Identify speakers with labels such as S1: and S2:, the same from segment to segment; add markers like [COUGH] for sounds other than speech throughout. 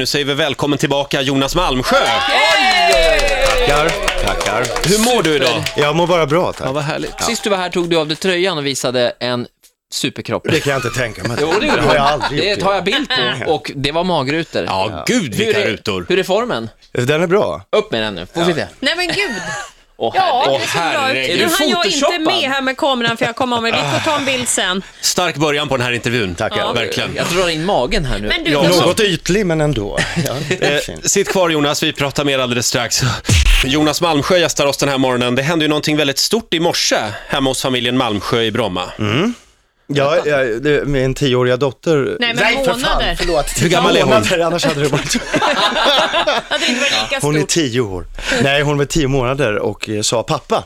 S1: Nu säger vi välkommen tillbaka Jonas Malmsjö.
S2: Tackar. Tackar.
S1: Hur mår du idag?
S2: Jag mår bara bra, tack.
S1: Ja, vad härligt.
S3: Sist du var här tog du av dig tröjan och visade en superkropp.
S2: Det kan jag inte tänka mig.
S3: Jo, det
S2: har jag aldrig
S3: Det
S2: gjort.
S3: tar jag bild på och det var magrutor.
S1: Ja, gud
S3: hur,
S1: vilka
S3: är,
S1: rutor.
S3: hur är formen?
S2: Den är bra.
S3: Upp med den nu, får vi se.
S4: Nej men gud.
S3: Åh,
S4: Ja,
S3: herregud.
S4: det såg bra ut.
S1: herregud.
S4: Nu hann jag inte
S3: Photoshoppad.
S4: med här med kameran för jag kom av mig. Vi får ta en bild sen.
S1: Stark början på den här intervjun.
S2: Tackar. Ja.
S1: Verkligen.
S3: Jag drar in magen här nu.
S4: Men du,
S1: Ja,
S4: de-
S1: något.
S2: Något ytlig, men ändå. Ja, det är
S1: Eh,
S2: fint.
S1: sitt kvar Jonas, vi pratar mer alldeles strax. [LAUGHS] Jonas Malmsjö gästar oss den här morgonen. Det hände ju någonting väldigt stort i morse hemma hos familjen Malmsjö i Bromma.
S2: Mm. Ja, ja, det- min tioåriga dotter...
S4: Nej, men månader.
S2: förlåt.
S1: Hur gammal är hon?
S2: Månader, annars hade det varit...
S4: ja, det är inte lika
S2: Hon är
S4: stort.
S2: tio år. Nej, hon var tio månader och eh, sa pappa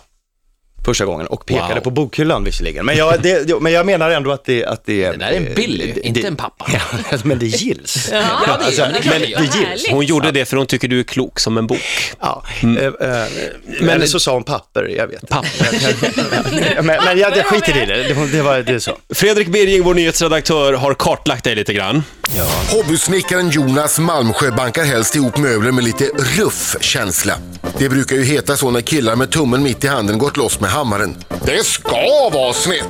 S2: första gången och pekade
S1: Wow.
S2: på bokhyllan visserligen. Men jag, det, jo, men jag menar ändå att det... Att det, eh,
S3: Det där är en Billy, inte en pappa.
S2: [LAUGHS] Ja, men det gills.
S4: Ja,
S3: Ja, det är- det är klart
S4: men
S3: det
S4: det
S3: gör.
S4: gills.
S1: Hon gjorde det för hon tycker du är klok som en bok.
S2: Ja, eh, eh, eller så sa hon papper, jag vet inte. [LAUGHS] men, men jag, jag skiter i det, det, var- det, var, det är så.
S1: Fredrik Birging, vår nyhetsredaktör, har kartlagt dig lite grann.
S5: Hobbysnickaren Jonas Malmsjö bankar helst ihop möbler med lite ruff känsla. Det brukar ju heta så när killar med tummen mitt i handen gått loss med hammaren. Det ska vara snett!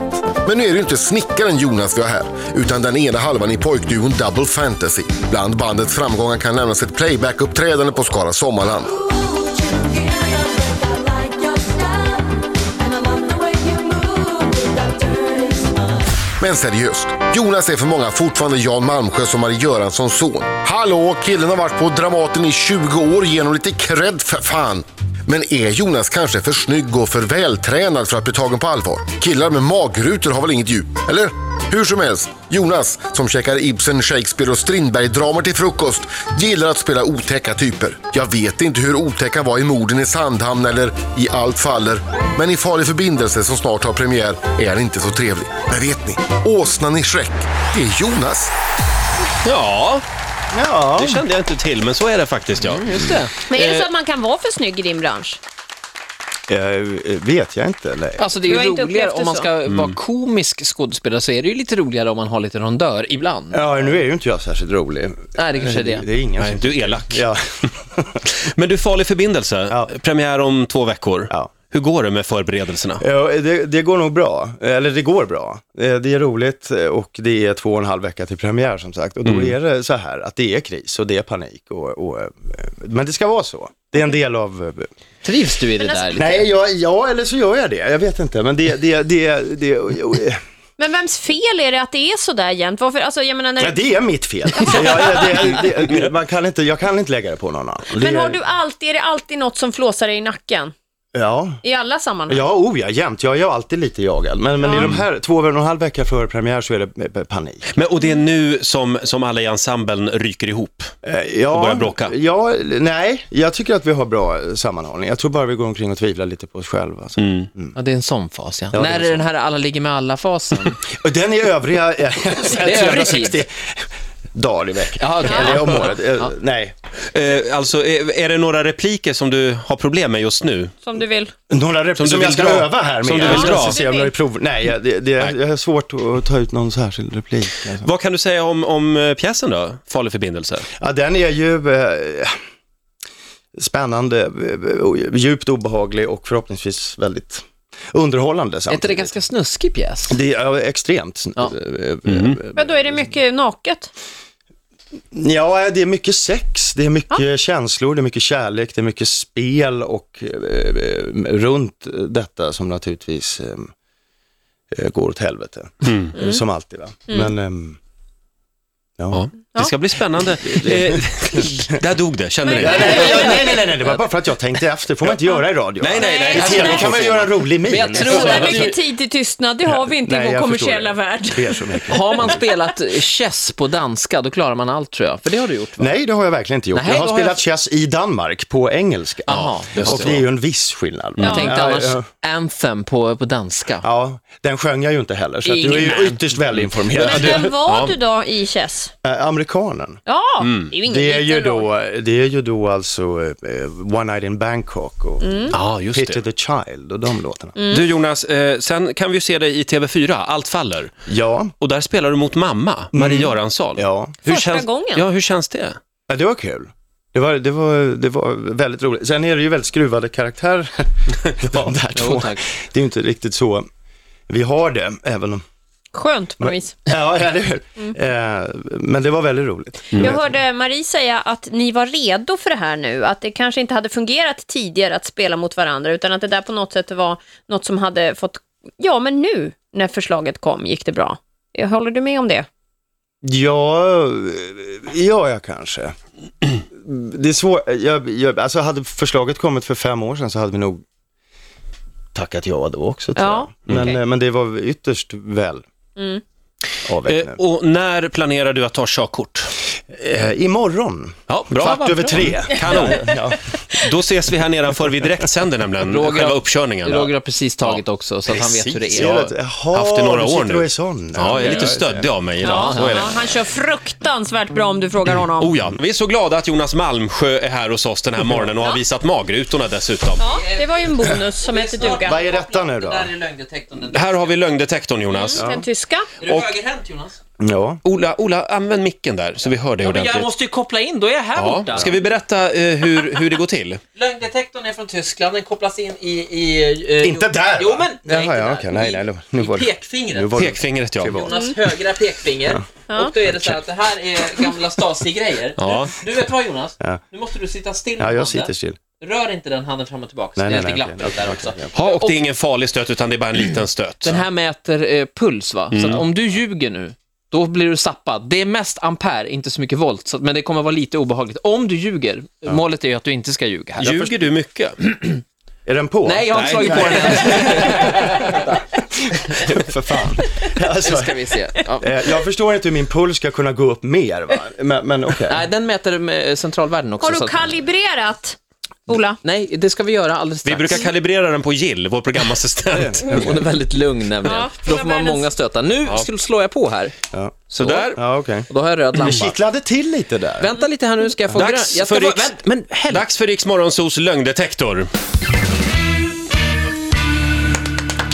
S5: Men nu är det ju inte snickaren Jonas vi har här, utan den ena halvan i pojkduon Double Fantasy. Bland bandets framgångar kan nämnas ett playback-uppträdande på Skara Sommarland. Men seriöst, Jonas är för många fortfarande Jan Malmsjö som Marie Göranssons son. Hallå, killen har varit på Dramaten i 20 år, genom lite cred för fan. Men är Jonas kanske för snygg och för vältränad för att bli tagen på allvar? Killar med magrutor har väl inget djup, eller? Hur som helst, Jonas, som käkar Ibsen, Shakespeare och Strindberg-dramer till frukost, gillar att spela otäcka typer. Jag vet inte hur otäcka var i morden i Sandhamn eller i Allt faller, men i Farlig förbindelse som snart har premiär är han inte så trevlig. Men vet ni, åsnan i Shrek, det är Jonas.
S1: Ja,
S2: Ja, Mm,
S1: det kände jag inte till, men så är det faktiskt ja.
S3: Just det.
S4: Men är det så att man kan vara för snygg i din bransch?
S2: eh, vet jag inte. Nej.
S3: Alltså det
S4: Du
S3: är
S4: har
S3: ju
S4: inte
S3: roligare,
S4: upplevt det
S3: om man
S4: så.
S3: ska vara komisk skådespelare så är det ju lite roligare om man har lite rondör ibland.
S2: Ja, nu är ju inte jag särskilt rolig. Eh,
S3: Nej, det kanske är det.
S2: Det är ingen
S1: Nej,
S2: som...
S1: du är elak.
S2: Ja.
S1: Men du, Farlig förbindelse,
S2: Ja.
S1: premiär om två veckor.
S2: Ja.
S1: Hur går det med förberedelserna?
S2: Ja, Eh, det, det går nog bra, eller det går bra. Eh, Det är roligt eh, och det är två och en halv vecka till premiär som sagt. Och då är det så här att det är kris och det är panik. Och, och, eh, men det ska vara så. Det är en del av... eh,
S3: Trivs du i det
S4: alltså-
S3: där? lite?
S2: Nej, jag, ja, eller så gör jag det. Jag vet inte, men det... det, det, det, det
S4: Men vems fel är det att det är så där jämt? Varför, alltså jag menar,
S2: Ja,
S4: när,
S2: det är mitt fel. Så jag, det, det, det, man kan inte, jag kan inte lägga det på någon annan. Det,
S4: men har du alltid, är det alltid något som flåsar dig i nacken?
S2: Ja.
S4: I alla sammanhang?
S2: Ja, oh ja, jämt. Jag är ju alltid lite jagad. Men, men i de här två och en halv vecka före premiär så är det eh, panik.
S1: Men, och det är nu som, som alla i ensemblen ryker ihop.
S2: Eh, Ja,
S1: Och börjar bråka.
S2: Ja, nej, jag tycker att vi har bra eh, sammanhållning. Jag tror bara vi går omkring och tvivlar lite på oss själva. Alltså.
S1: Mm.
S3: Ja, det är en sån fas, ja.
S2: det är
S3: När
S2: en
S3: är den här alla ligger med alla-fasen?
S2: Och den
S1: [LAUGHS]
S2: är övriga eh,
S3: övrig
S2: [LAUGHS]
S3: tid.
S2: 360 dagar i veckan.
S3: Ja, okej.
S2: Eller om året. Eh, Nej,
S1: Eh, alltså, är, är det några repliker som du har problem med just nu?
S4: Som du vill?
S2: några rep-
S1: Som
S2: som,
S1: du
S2: jag
S1: vill
S2: ska
S1: dra.
S2: öva här med.
S1: Som du vill
S2: Jag ska
S1: dra.
S2: se om jag är prov. Nej, jag- det, det, jag har svårt att ta ut någon särskild replik. Alltså.
S1: Vad kan du säga om, om eh, pjäsen då? Farlig förbindelse?
S2: Ja, den är ju eh, spännande, eh, o- djupt obehaglig och förhoppningsvis väldigt underhållande
S3: är inte det
S2: samtidigt.
S3: ganska snuskig pjäs?
S2: Det är ja, extremt.
S3: Ja.
S2: Eh, eh,
S4: Men då är det mycket naket?
S2: Ja, det är mycket sex, det är mycket känslor, det är mycket kärlek, det är mycket spel och eh, eh, runt detta som naturligtvis eh, eh, går åt helvete. Eh, Som alltid va.
S3: Mm.
S2: Men, ehm, ja.
S1: Ja. Det ska bli spännande. Eh, [LAUGHS] där dog det, känner ni?
S2: Nej, nej, nej, nej, nej, nej, det var bara för att jag tänkte efter, får man inte göra i radio.
S1: Nej, nej, nej.
S2: I tv kan man ju göra en rolig min.
S3: Men jag tror
S4: Sådär
S3: att-
S4: mycket tid till tystnad, det har vi inte
S2: Nej,
S4: i vår
S2: jag förstår
S4: kommersiella
S2: det.
S4: värld.
S2: Det är så mycket.
S3: Har man spelat chess på danska, då klarar man allt tror jag. För det har du gjort va?
S2: Nej, det har jag verkligen inte gjort.
S3: Nej,
S2: jag har
S3: vad har jag-
S2: spelat chess i Danmark på engelska.
S3: Jaha, just
S2: och
S3: det.
S2: det är ju en viss skillnad.
S3: Jag tänkte annars
S2: Ja,
S3: anthem på, på danska.
S2: Ja, den sjöng jag ju inte heller, så att du är ju
S3: Ingen.
S2: ytterst välinformerad.
S4: Men vem var du då i Chess?
S2: Äh, amerikanen.
S4: Ja, det är ju ingen
S2: Mm. Det är ju
S4: liten roll.
S2: då, det är ju då alltså eh, One Night in Bangkok och
S1: Ja, just
S2: Pity
S1: det.
S2: the Child och de låtarna.
S1: Du Jonas, eh, sen kan vi ju se dig i TV4, Allt faller.
S2: Ja,
S1: Och där spelar du mot mamma, Marie Göransson.
S2: Mm. ja.
S1: Hur
S4: Första
S1: känns,
S4: gången.
S1: Ja, hur känns det?
S2: Ja, det var kul. Det var, det, var, det var väldigt roligt. Sen är det ju väldigt skruvade karaktärer. [LAUGHS] de där
S3: Jo,
S2: två.
S3: tack.
S2: Det är ju inte riktigt så vi har det, även om...
S4: Skönt på något vis.
S2: Ja, eller hur? Eh, men det var väldigt roligt.
S4: Jag hörde Marie säga att ni var redo för det här nu, att det kanske inte hade fungerat tidigare att spela mot varandra, utan att det där på något sätt var något som hade fått, ja men nu när förslaget kom gick det bra. Håller du med om det?
S2: Ja, ja, jag kanske. Det är svårt. Jag, jag, alltså hade förslaget kommit för fem år sedan så hade vi nog tackat ja då också. Tror
S4: Ja,
S2: jag. Men,
S4: okej.
S2: eh, men det var ytterst väl
S4: Mm.
S2: avvägt
S1: Eh,
S2: nu.
S1: och när planerar du att ta körkort?
S2: Eh, imorgon,
S1: Ja, bra.
S2: kvart över tre.
S1: Kanon.
S2: Ja.
S1: Då ses vi här nedanför. Vi direkt sänder nämligen
S3: Roger-
S1: själva uppkörningen.
S3: Roger har precis tagit också, så att han vet hur det är.
S2: Ser
S1: Ja.
S2: du? Jaha,
S1: Haft det några
S2: du
S1: år
S2: sitter
S1: nu.
S2: och är sån.
S1: Ja, jag är lite stöddig av mig idag. Så är det.
S4: han kör fruktansvärt bra om du frågar honom.
S1: Oh ja. Vi är så glada att Jonas Malmsjö är här hos oss den här morgonen och har visat magrutorna dessutom.
S4: Ja, det var ju en bonus som hette duga.
S2: Vad är detta nu då?
S3: är lögndetektorn. Den
S1: Här har vi lögndetektorn Jonas.
S4: Den tyska.
S3: Är du högerhänt Jonas?
S2: Ja.
S1: Ola, Ola, använd micken där så vi hör dig ordentligt.
S3: ju koppla in, då är jag här
S1: Ja. Ska vi berätta eh, hur, hur det går
S2: [LAUGHS]
S1: till?
S3: Lögndetektorn är från Tyskland, den kopplas in i... i eh,
S2: Inte
S3: jo-
S2: där,
S3: Jo
S2: va?
S3: men...
S2: Jaha,
S3: inte
S2: ja,
S3: där.
S2: okej, nej, nej, då- nu
S3: I
S2: var det-
S3: pekfingret.
S2: nu var det-
S1: Pekfingret ja.
S2: Privat.
S3: Jonas högra pekfinger. Och då är det så här att det här är gamla Stasi-grejer.
S1: Ja.
S3: Du vet vad Jonas?
S2: Ja.
S3: Nu måste du sitta still med
S2: ja, jag
S3: handen.
S2: sitter still.
S3: Rör inte den handen fram och tillbaka.
S2: Nej,
S3: det är
S2: nej,
S3: lite
S2: nej,
S3: glapp
S2: okej,
S3: där
S2: okej,
S3: också.
S2: okej,
S1: Ja, och det är ingen farlig stöt utan det är bara en liten stöt.
S6: Den här mäter eh, puls va? Så att om du ljuger nu, då blir du zappad. Det är mest ampere, inte så mycket volt, så, att- men det kommer vara lite obehagligt. Om du ljuger, målet är ju att du inte ska ljuga här.
S1: Ljuger du mycket?
S2: Är den på?
S6: Nej, jag har inte slagit på den än.
S2: för fan. Alltså,
S6: Nu ska vi se.
S2: [LAUGHS]
S6: Ja.
S2: eh, jag förstår inte hur min puls ska kunna gå upp mer, va? men, men okej.
S6: Nej, den mäter med centralvärden också.
S4: Har
S6: så
S4: du
S6: att-
S4: kalibrerat, Ola?
S6: Nej, det ska vi göra alldeles
S1: Vi
S6: strax.
S1: brukar kalibrera den på Jill, vår programassistent.
S6: Hon är väldigt lugn nämligen.
S4: Ja,
S6: då får man
S4: världens-
S6: många stötar. Nu skulle slår jag på här.
S2: Ja,
S1: Sådär.
S2: ja okej.
S6: Och då har jag röd
S2: Det
S6: lampa.
S2: kittlade till lite där.
S6: Vänta lite här nu, ska jag få grön. Jag
S1: Dags
S6: ska
S1: för
S6: få...
S1: Riks-
S6: Vänt, men helvete.
S1: Dags för Riks Morgonzos lögndetektor.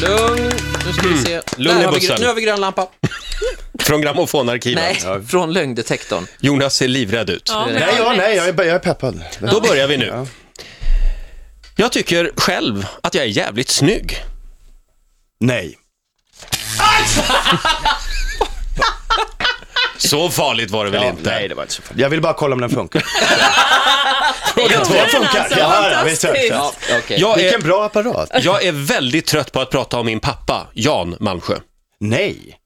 S6: Lugn. Nu ska vi se.
S1: Lugn i
S6: Där har vi grön-
S1: bussen.
S6: Nu har vi grön lampa.
S1: Från Grammofonarkivet.
S6: Nej, från lögndetektorn.
S1: Jonas ser livrädd ut.
S4: Ja, men-
S2: Nej, ja, nej, jag är, jag är peppad.
S1: Då börjar vi nu. Jag tycker själv att jag är jävligt snygg.
S2: Nej.
S1: Så farligt var det väl
S2: Ja,
S1: inte?
S2: nej, det var inte så farligt. Jag vill bara kolla om den funkar. Fråga
S4: gjorde
S2: två.
S4: den
S2: funkar.
S4: alltså,
S2: ja, ja, visst, visst.
S4: fantastiskt.
S6: Ja, okej.
S1: Jag är,
S2: Vilken bra apparat.
S1: jag är väldigt trött på att prata om min pappa, Jan Malmsjö.
S2: Nej.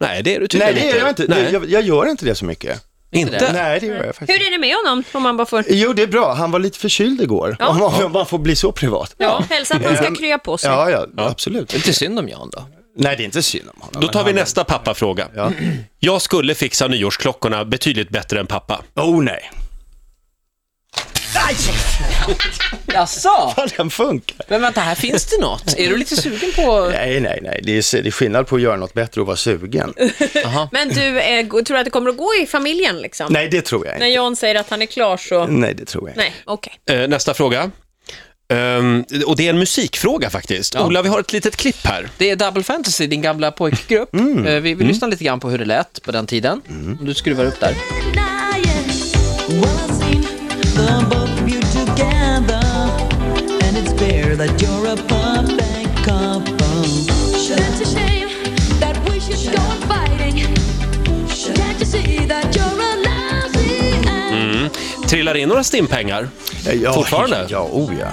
S1: Nej, det är du
S2: Nej,
S1: tydligen
S2: det gör jag inte.
S1: Nej,
S2: Det, jag, jag gör inte det så mycket.
S1: inte.
S2: Nej, det gör jag faktiskt
S4: Hur är det med honom, om man bara får...
S2: Jo, det är bra. Han var lite förkyld igår. [LAUGHS]
S4: Ja.
S2: Om, man, om man får bli så privat.
S4: Ja, hälsa att man ska krya på sig.
S2: Ja, ja, absolut.
S6: Det är inte synd om Jan då.
S2: Nej, det är inte synd om honom.
S1: Då tar vi
S2: Han-
S1: nästa pappafråga.
S2: Ja.
S1: Jag skulle fixa nyårsklockorna betydligt bättre än pappa.
S2: Oh, nej.
S6: Jaså?
S2: Ja, den funkar.
S6: Men vänta, här finns det något. Är du lite sugen på...
S2: Nej, nej, nej. Det är, det är skillnad på att göra något bättre och vara [LAUGHS] sugen.
S4: Men du, eh, go- tror du att det kommer att gå i familjen liksom?
S2: Nej, det tror jag
S4: När
S2: inte.
S4: Jan säger att han är klar så...
S2: Nej, det tror jag inte.
S4: Nej, okej.
S1: Eh, nästa fråga. Ehm, och det är en musikfråga faktiskt. Ola, vi har ett litet klipp här.
S6: Det är Double Fantasy, din gamla pojkgrupp. Eh, Vi, vi lyssnar lite grann på hur det lät på den tiden. Om du skruvar upp där. Eh,
S7: The both of you together, and it's clear that you're a perfect couple.
S8: It's a shame that we should go on fighting. Can't you see that you're a lousy ass?
S6: Mm.
S1: Trillar in några stimpengar?
S6: Eh,
S2: Ja,
S1: Fortfarande?
S2: Ja, oh ja.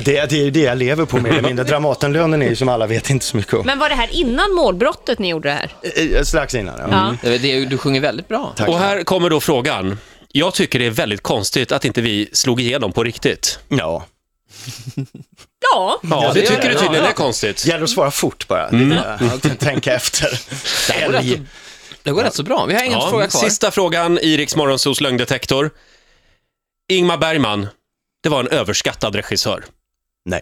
S2: Det, är- det är ju det jag lever på mer eller mindre. Dramatenlönen är ju som alla vet inte så mycket om.
S4: Men var det här innan målbrottet ni gjorde det här?
S2: Eh, eh, Strax innan, ja.
S4: Ja.
S6: Eh, Det, du sjunger väldigt bra.
S2: Tack.
S1: Och här kommer då frågan. Jag tycker det är väldigt konstigt att inte vi slog igenom på riktigt.
S2: Ja.
S4: Ja,
S1: Ja, det
S6: det gör
S1: tycker
S6: det.
S1: du tydligen
S6: Ja,
S1: är konstigt.
S2: Gäller att svara fort bara. Mm. Tänka [LAUGHS] efter.
S6: Det går, rätt, så- det går rätt så bra. Vi har ingen fråga
S1: Ja,
S6: kvar.
S1: sista frågan i Rix Morgonzos lögndetektor. Ingmar Bergman, det var en överskattad regissör.
S2: Nej.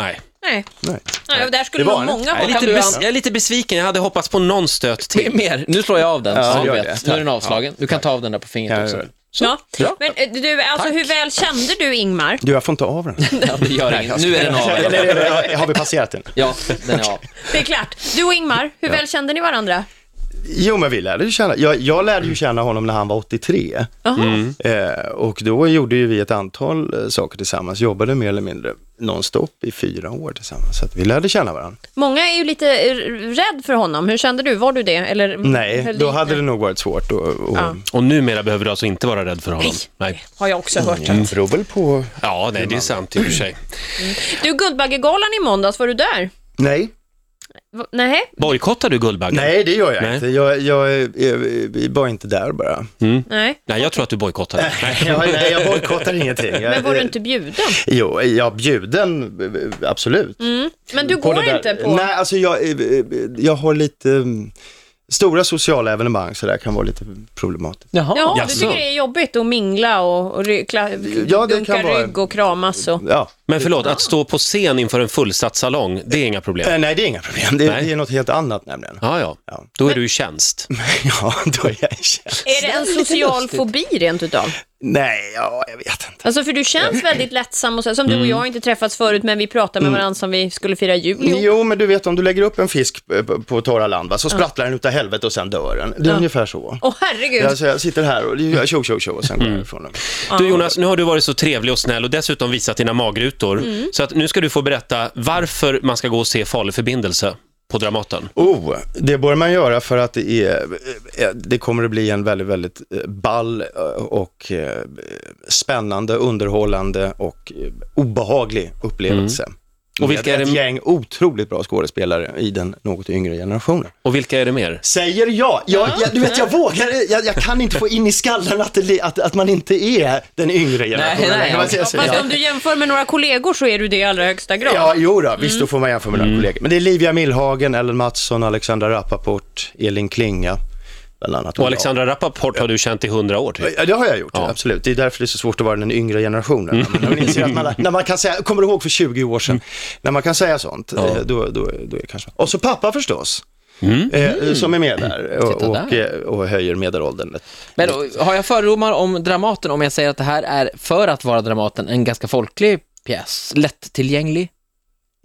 S1: Nej.
S4: nej.
S2: Nej.
S4: nej och där skulle
S2: Det var
S4: nog
S2: en-
S4: många
S6: Nej,
S4: hålla
S6: lite
S4: med.
S6: bes-
S1: Jag är lite besviken, jag hade hoppats på någon stöt till.
S6: [LAUGHS] Till mer. Nu slår jag av den,
S2: Ja,
S6: så du
S2: gör
S6: vet.
S2: det.
S6: Nu är den avslagen. Du kan ta av den där på
S2: Ja,
S6: fingret också.
S2: gör det.
S4: Ja. Men eh, du, alltså hur väl kände du Ingmar?
S2: Du, jag får inte [LAUGHS] av den.
S6: Ja, det gör inget. Nu är den
S2: Eller, [LAUGHS]
S6: av.
S2: eller, eller, har vi passerat den?
S6: Ja, den är av.
S4: Det är klart. Du och Ingmar, hur väl kände ni varandra?
S2: Jo, men vi lärde ju känna, jag, jag lärde ju känna honom när han var 83.
S4: Jaha.
S2: Eh, och då gjorde ju vi ett antal eh, saker tillsammans, jobbade mer eller mindre nonstop i fyra år tillsammans. Så att vi lärde känna varandra.
S4: Många är ju lite eh, rädd för honom. Hur kände du? Var du Mm. det? Eller,
S2: Nej,
S4: höll
S2: då
S4: du-
S2: hade det nog varit svårt. Och, och,
S4: Ja.
S1: Och numera behöver du alltså inte vara rädd för honom? Nej.
S4: Har jag också hört.
S2: Det beror väl på...
S1: Ja, nej, det är sant i och för sig.
S4: Du, Guldbaggegalan i måndags, var du där?
S2: Nej,
S4: Va- Nej,
S1: Bojkottar du Guldbaggen?
S2: nej det gör jag
S1: Nej.
S2: inte. Jag, jag, är- är bara inte där bara.
S4: nej.
S1: Nej, jag tror att du bojkottar. Nej.
S2: [LAUGHS] Jag, nej, jag bojkottar ingenting. Jag,
S4: [LAUGHS] Men var du inte bjuden?
S2: Jo, jag bjuden, eh, absolut.
S4: Men du
S2: på
S4: Mm. går
S2: det där.
S4: inte på...
S2: Nej, alltså jag, eh, eh, jag har lite mm, stora sociala evenemang så där kan vara lite problematiskt.
S6: Jaha.
S4: Ja, du
S1: Jaså.
S4: tycker det är jobbigt att mingla och, och ry- kla-
S2: Ja, det
S4: dunka
S2: kan vara-
S4: rygg och kramas och...
S2: Ja.
S1: Men förlåt, att stå på scen inför en fullsatt salong, det är inga problem?
S2: Eh, Nej, det är inga problem. Det,
S1: Nej.
S2: det är något helt annat nämligen.
S1: Ja, ja.
S2: Ja.
S1: Då är du i tjänst.
S2: [LAUGHS] Ja, då är jag känd.
S4: Är det en social fobi rent utav?
S2: Nej, ja, jag vet inte.
S4: Alltså för du känns väldigt lättsam och så, som
S2: Mm.
S4: du och jag har inte träffats förut men vi pratade med varandra som vi skulle fira jul ihop.
S2: Jo, men du vet om du lägger upp en fisk eh, på- på torra land va, så sprattlar den utav helvete och sen dör den. Det är ungefär så.
S4: Åh herregud,
S2: Alltså, jag sitter här och gör tjo, tjo, tjo och sen går
S1: Mm.
S2: jag ifrån den.
S1: Du Jonas, nu har du varit så trevlig och snäll och dessutom visat dina magrutor. Så att nu ska du få berätta varför man ska gå och se Farlig förbindelse på Dramaten.
S2: Oh, det bör man göra för att det, är, eh, det kommer att bli en väldigt, väldigt eh, ball eh, och eh, spännande, underhållande och eh, obehaglig upplevelse.
S1: Och vilka
S2: Med
S1: är
S2: ett
S1: det-
S2: gäng otroligt bra skådespelare i den något yngre generationen.
S1: Och vilka är det mer?
S2: Säger jag. Jag, jag du vet, jag vågar, jag, jag kan inte få in i skallen att, det, li- att, att man inte är den yngre generationen.
S6: nej,
S2: längre, vad ska jag säga?
S4: fast om du jämför med några kollegor så är du det i allra högsta grad.
S2: Ja, jo då,
S6: Mm.
S2: visst då får man jämföra med några kollegor. Men det är Livia Millhagen, Ellen Mattsson, Alexandra Rappaport, Elin Klinga, bland annat.
S1: Och Alexandra Rappaport har du känt i hundra år. Typ.
S2: Ja, det har jag gjort, absolut. Det är därför det är så svårt att vara den yngre generationen.
S6: Mm.
S2: Men När man, inser att
S6: [LAUGHS]
S2: man, när man kan säga, kommer du ihåg för 20 år sedan, när man kan säga sånt, eh, då, då, då är det kanske... Och så pappa förstås. Eh, som är med där och,
S6: Mm. Titta där.
S2: och, eh, och höjer medelåldern.
S6: Men då, har jag fördomar om Dramaten om jag säger att det här är, för att vara Dramaten, en ganska folklig pjäs? Lättillgänglig?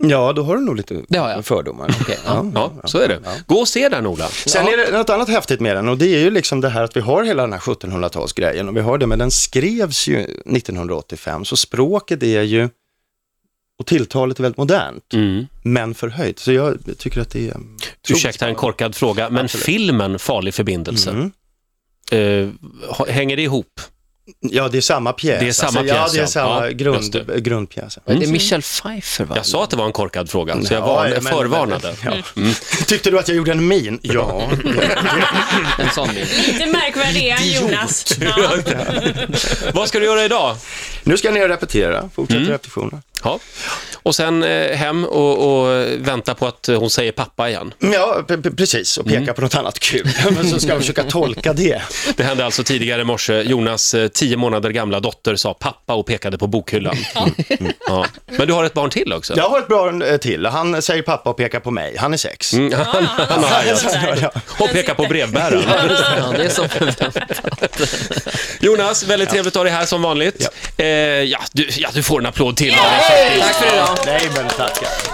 S2: Ja, då har du nog lite
S6: Det har jag.
S2: fördomar.
S6: Okej, ja.
S1: Ja, så är det. Gå och se den, Ola.
S2: Sen är det något annat häftigt med den och det är ju liksom det här att vi har hela den här 1700-talsgrejen och vi har det, men den skrevs ju 1985 så språket är ju och tilltalet är väldigt modernt,
S1: Mm.
S2: men förhöjt. Så jag tycker att det är...
S1: Ursäkta en korkad fråga, men filmen Farlig förbindelse,
S2: Mm.
S1: eh, ha- hänger det ihop?
S2: Ja, det är samma pjäs.
S1: Det är samma
S2: alltså,
S1: pjäs,
S2: Ja, det är
S1: ja.
S2: samma
S1: Ja, just
S2: grund,
S1: det.
S2: grundpjäs.
S6: Det är Michelle Pfeiffer, va?
S1: Jag sa att det var en korkad fråga, så jag
S2: Mm. Ja,
S1: varn-
S2: men- men-
S1: förvarnade.
S2: [LAUGHS]
S1: Mm.
S2: Ja. Tyckte du att jag gjorde en min? Ja.
S6: En sån bild.
S4: Lite märkvärdig är han Jonas. Ja.
S1: Vad ska du göra idag?
S2: nu ska jag ner och repetera, fortsätta
S1: Mm.
S2: repetitionerna.
S1: Ja. Och sen eh, hem och, och vänta på att eh, hon säger pappa igen.
S2: Ja, p- p- precis, och peka
S1: Mm.
S2: på något annat kul. [LAUGHS] Men så ska jag försöka tolka det.
S1: Det hände alltså tidigare i morse. Jonas eh, tio månader gamla dotter sa pappa och pekade på
S2: [LAUGHS]
S1: bokhyllan. Ja. Men du har ett barn till också?
S2: Jag har ett bra eh, till. Han säger pappa och pekar på mig. Han är sex.
S1: Mm, han, han har argat.
S2: Ja,
S1: Och pekar på brevbäraren.
S6: [LAUGHS] Ja, det är som
S1: Jonas, väldigt trevligt att ha dig här som vanligt. Eh, ja, du, ja, du får en applåd till.
S6: Tack för idag.
S2: Nej, men tackar.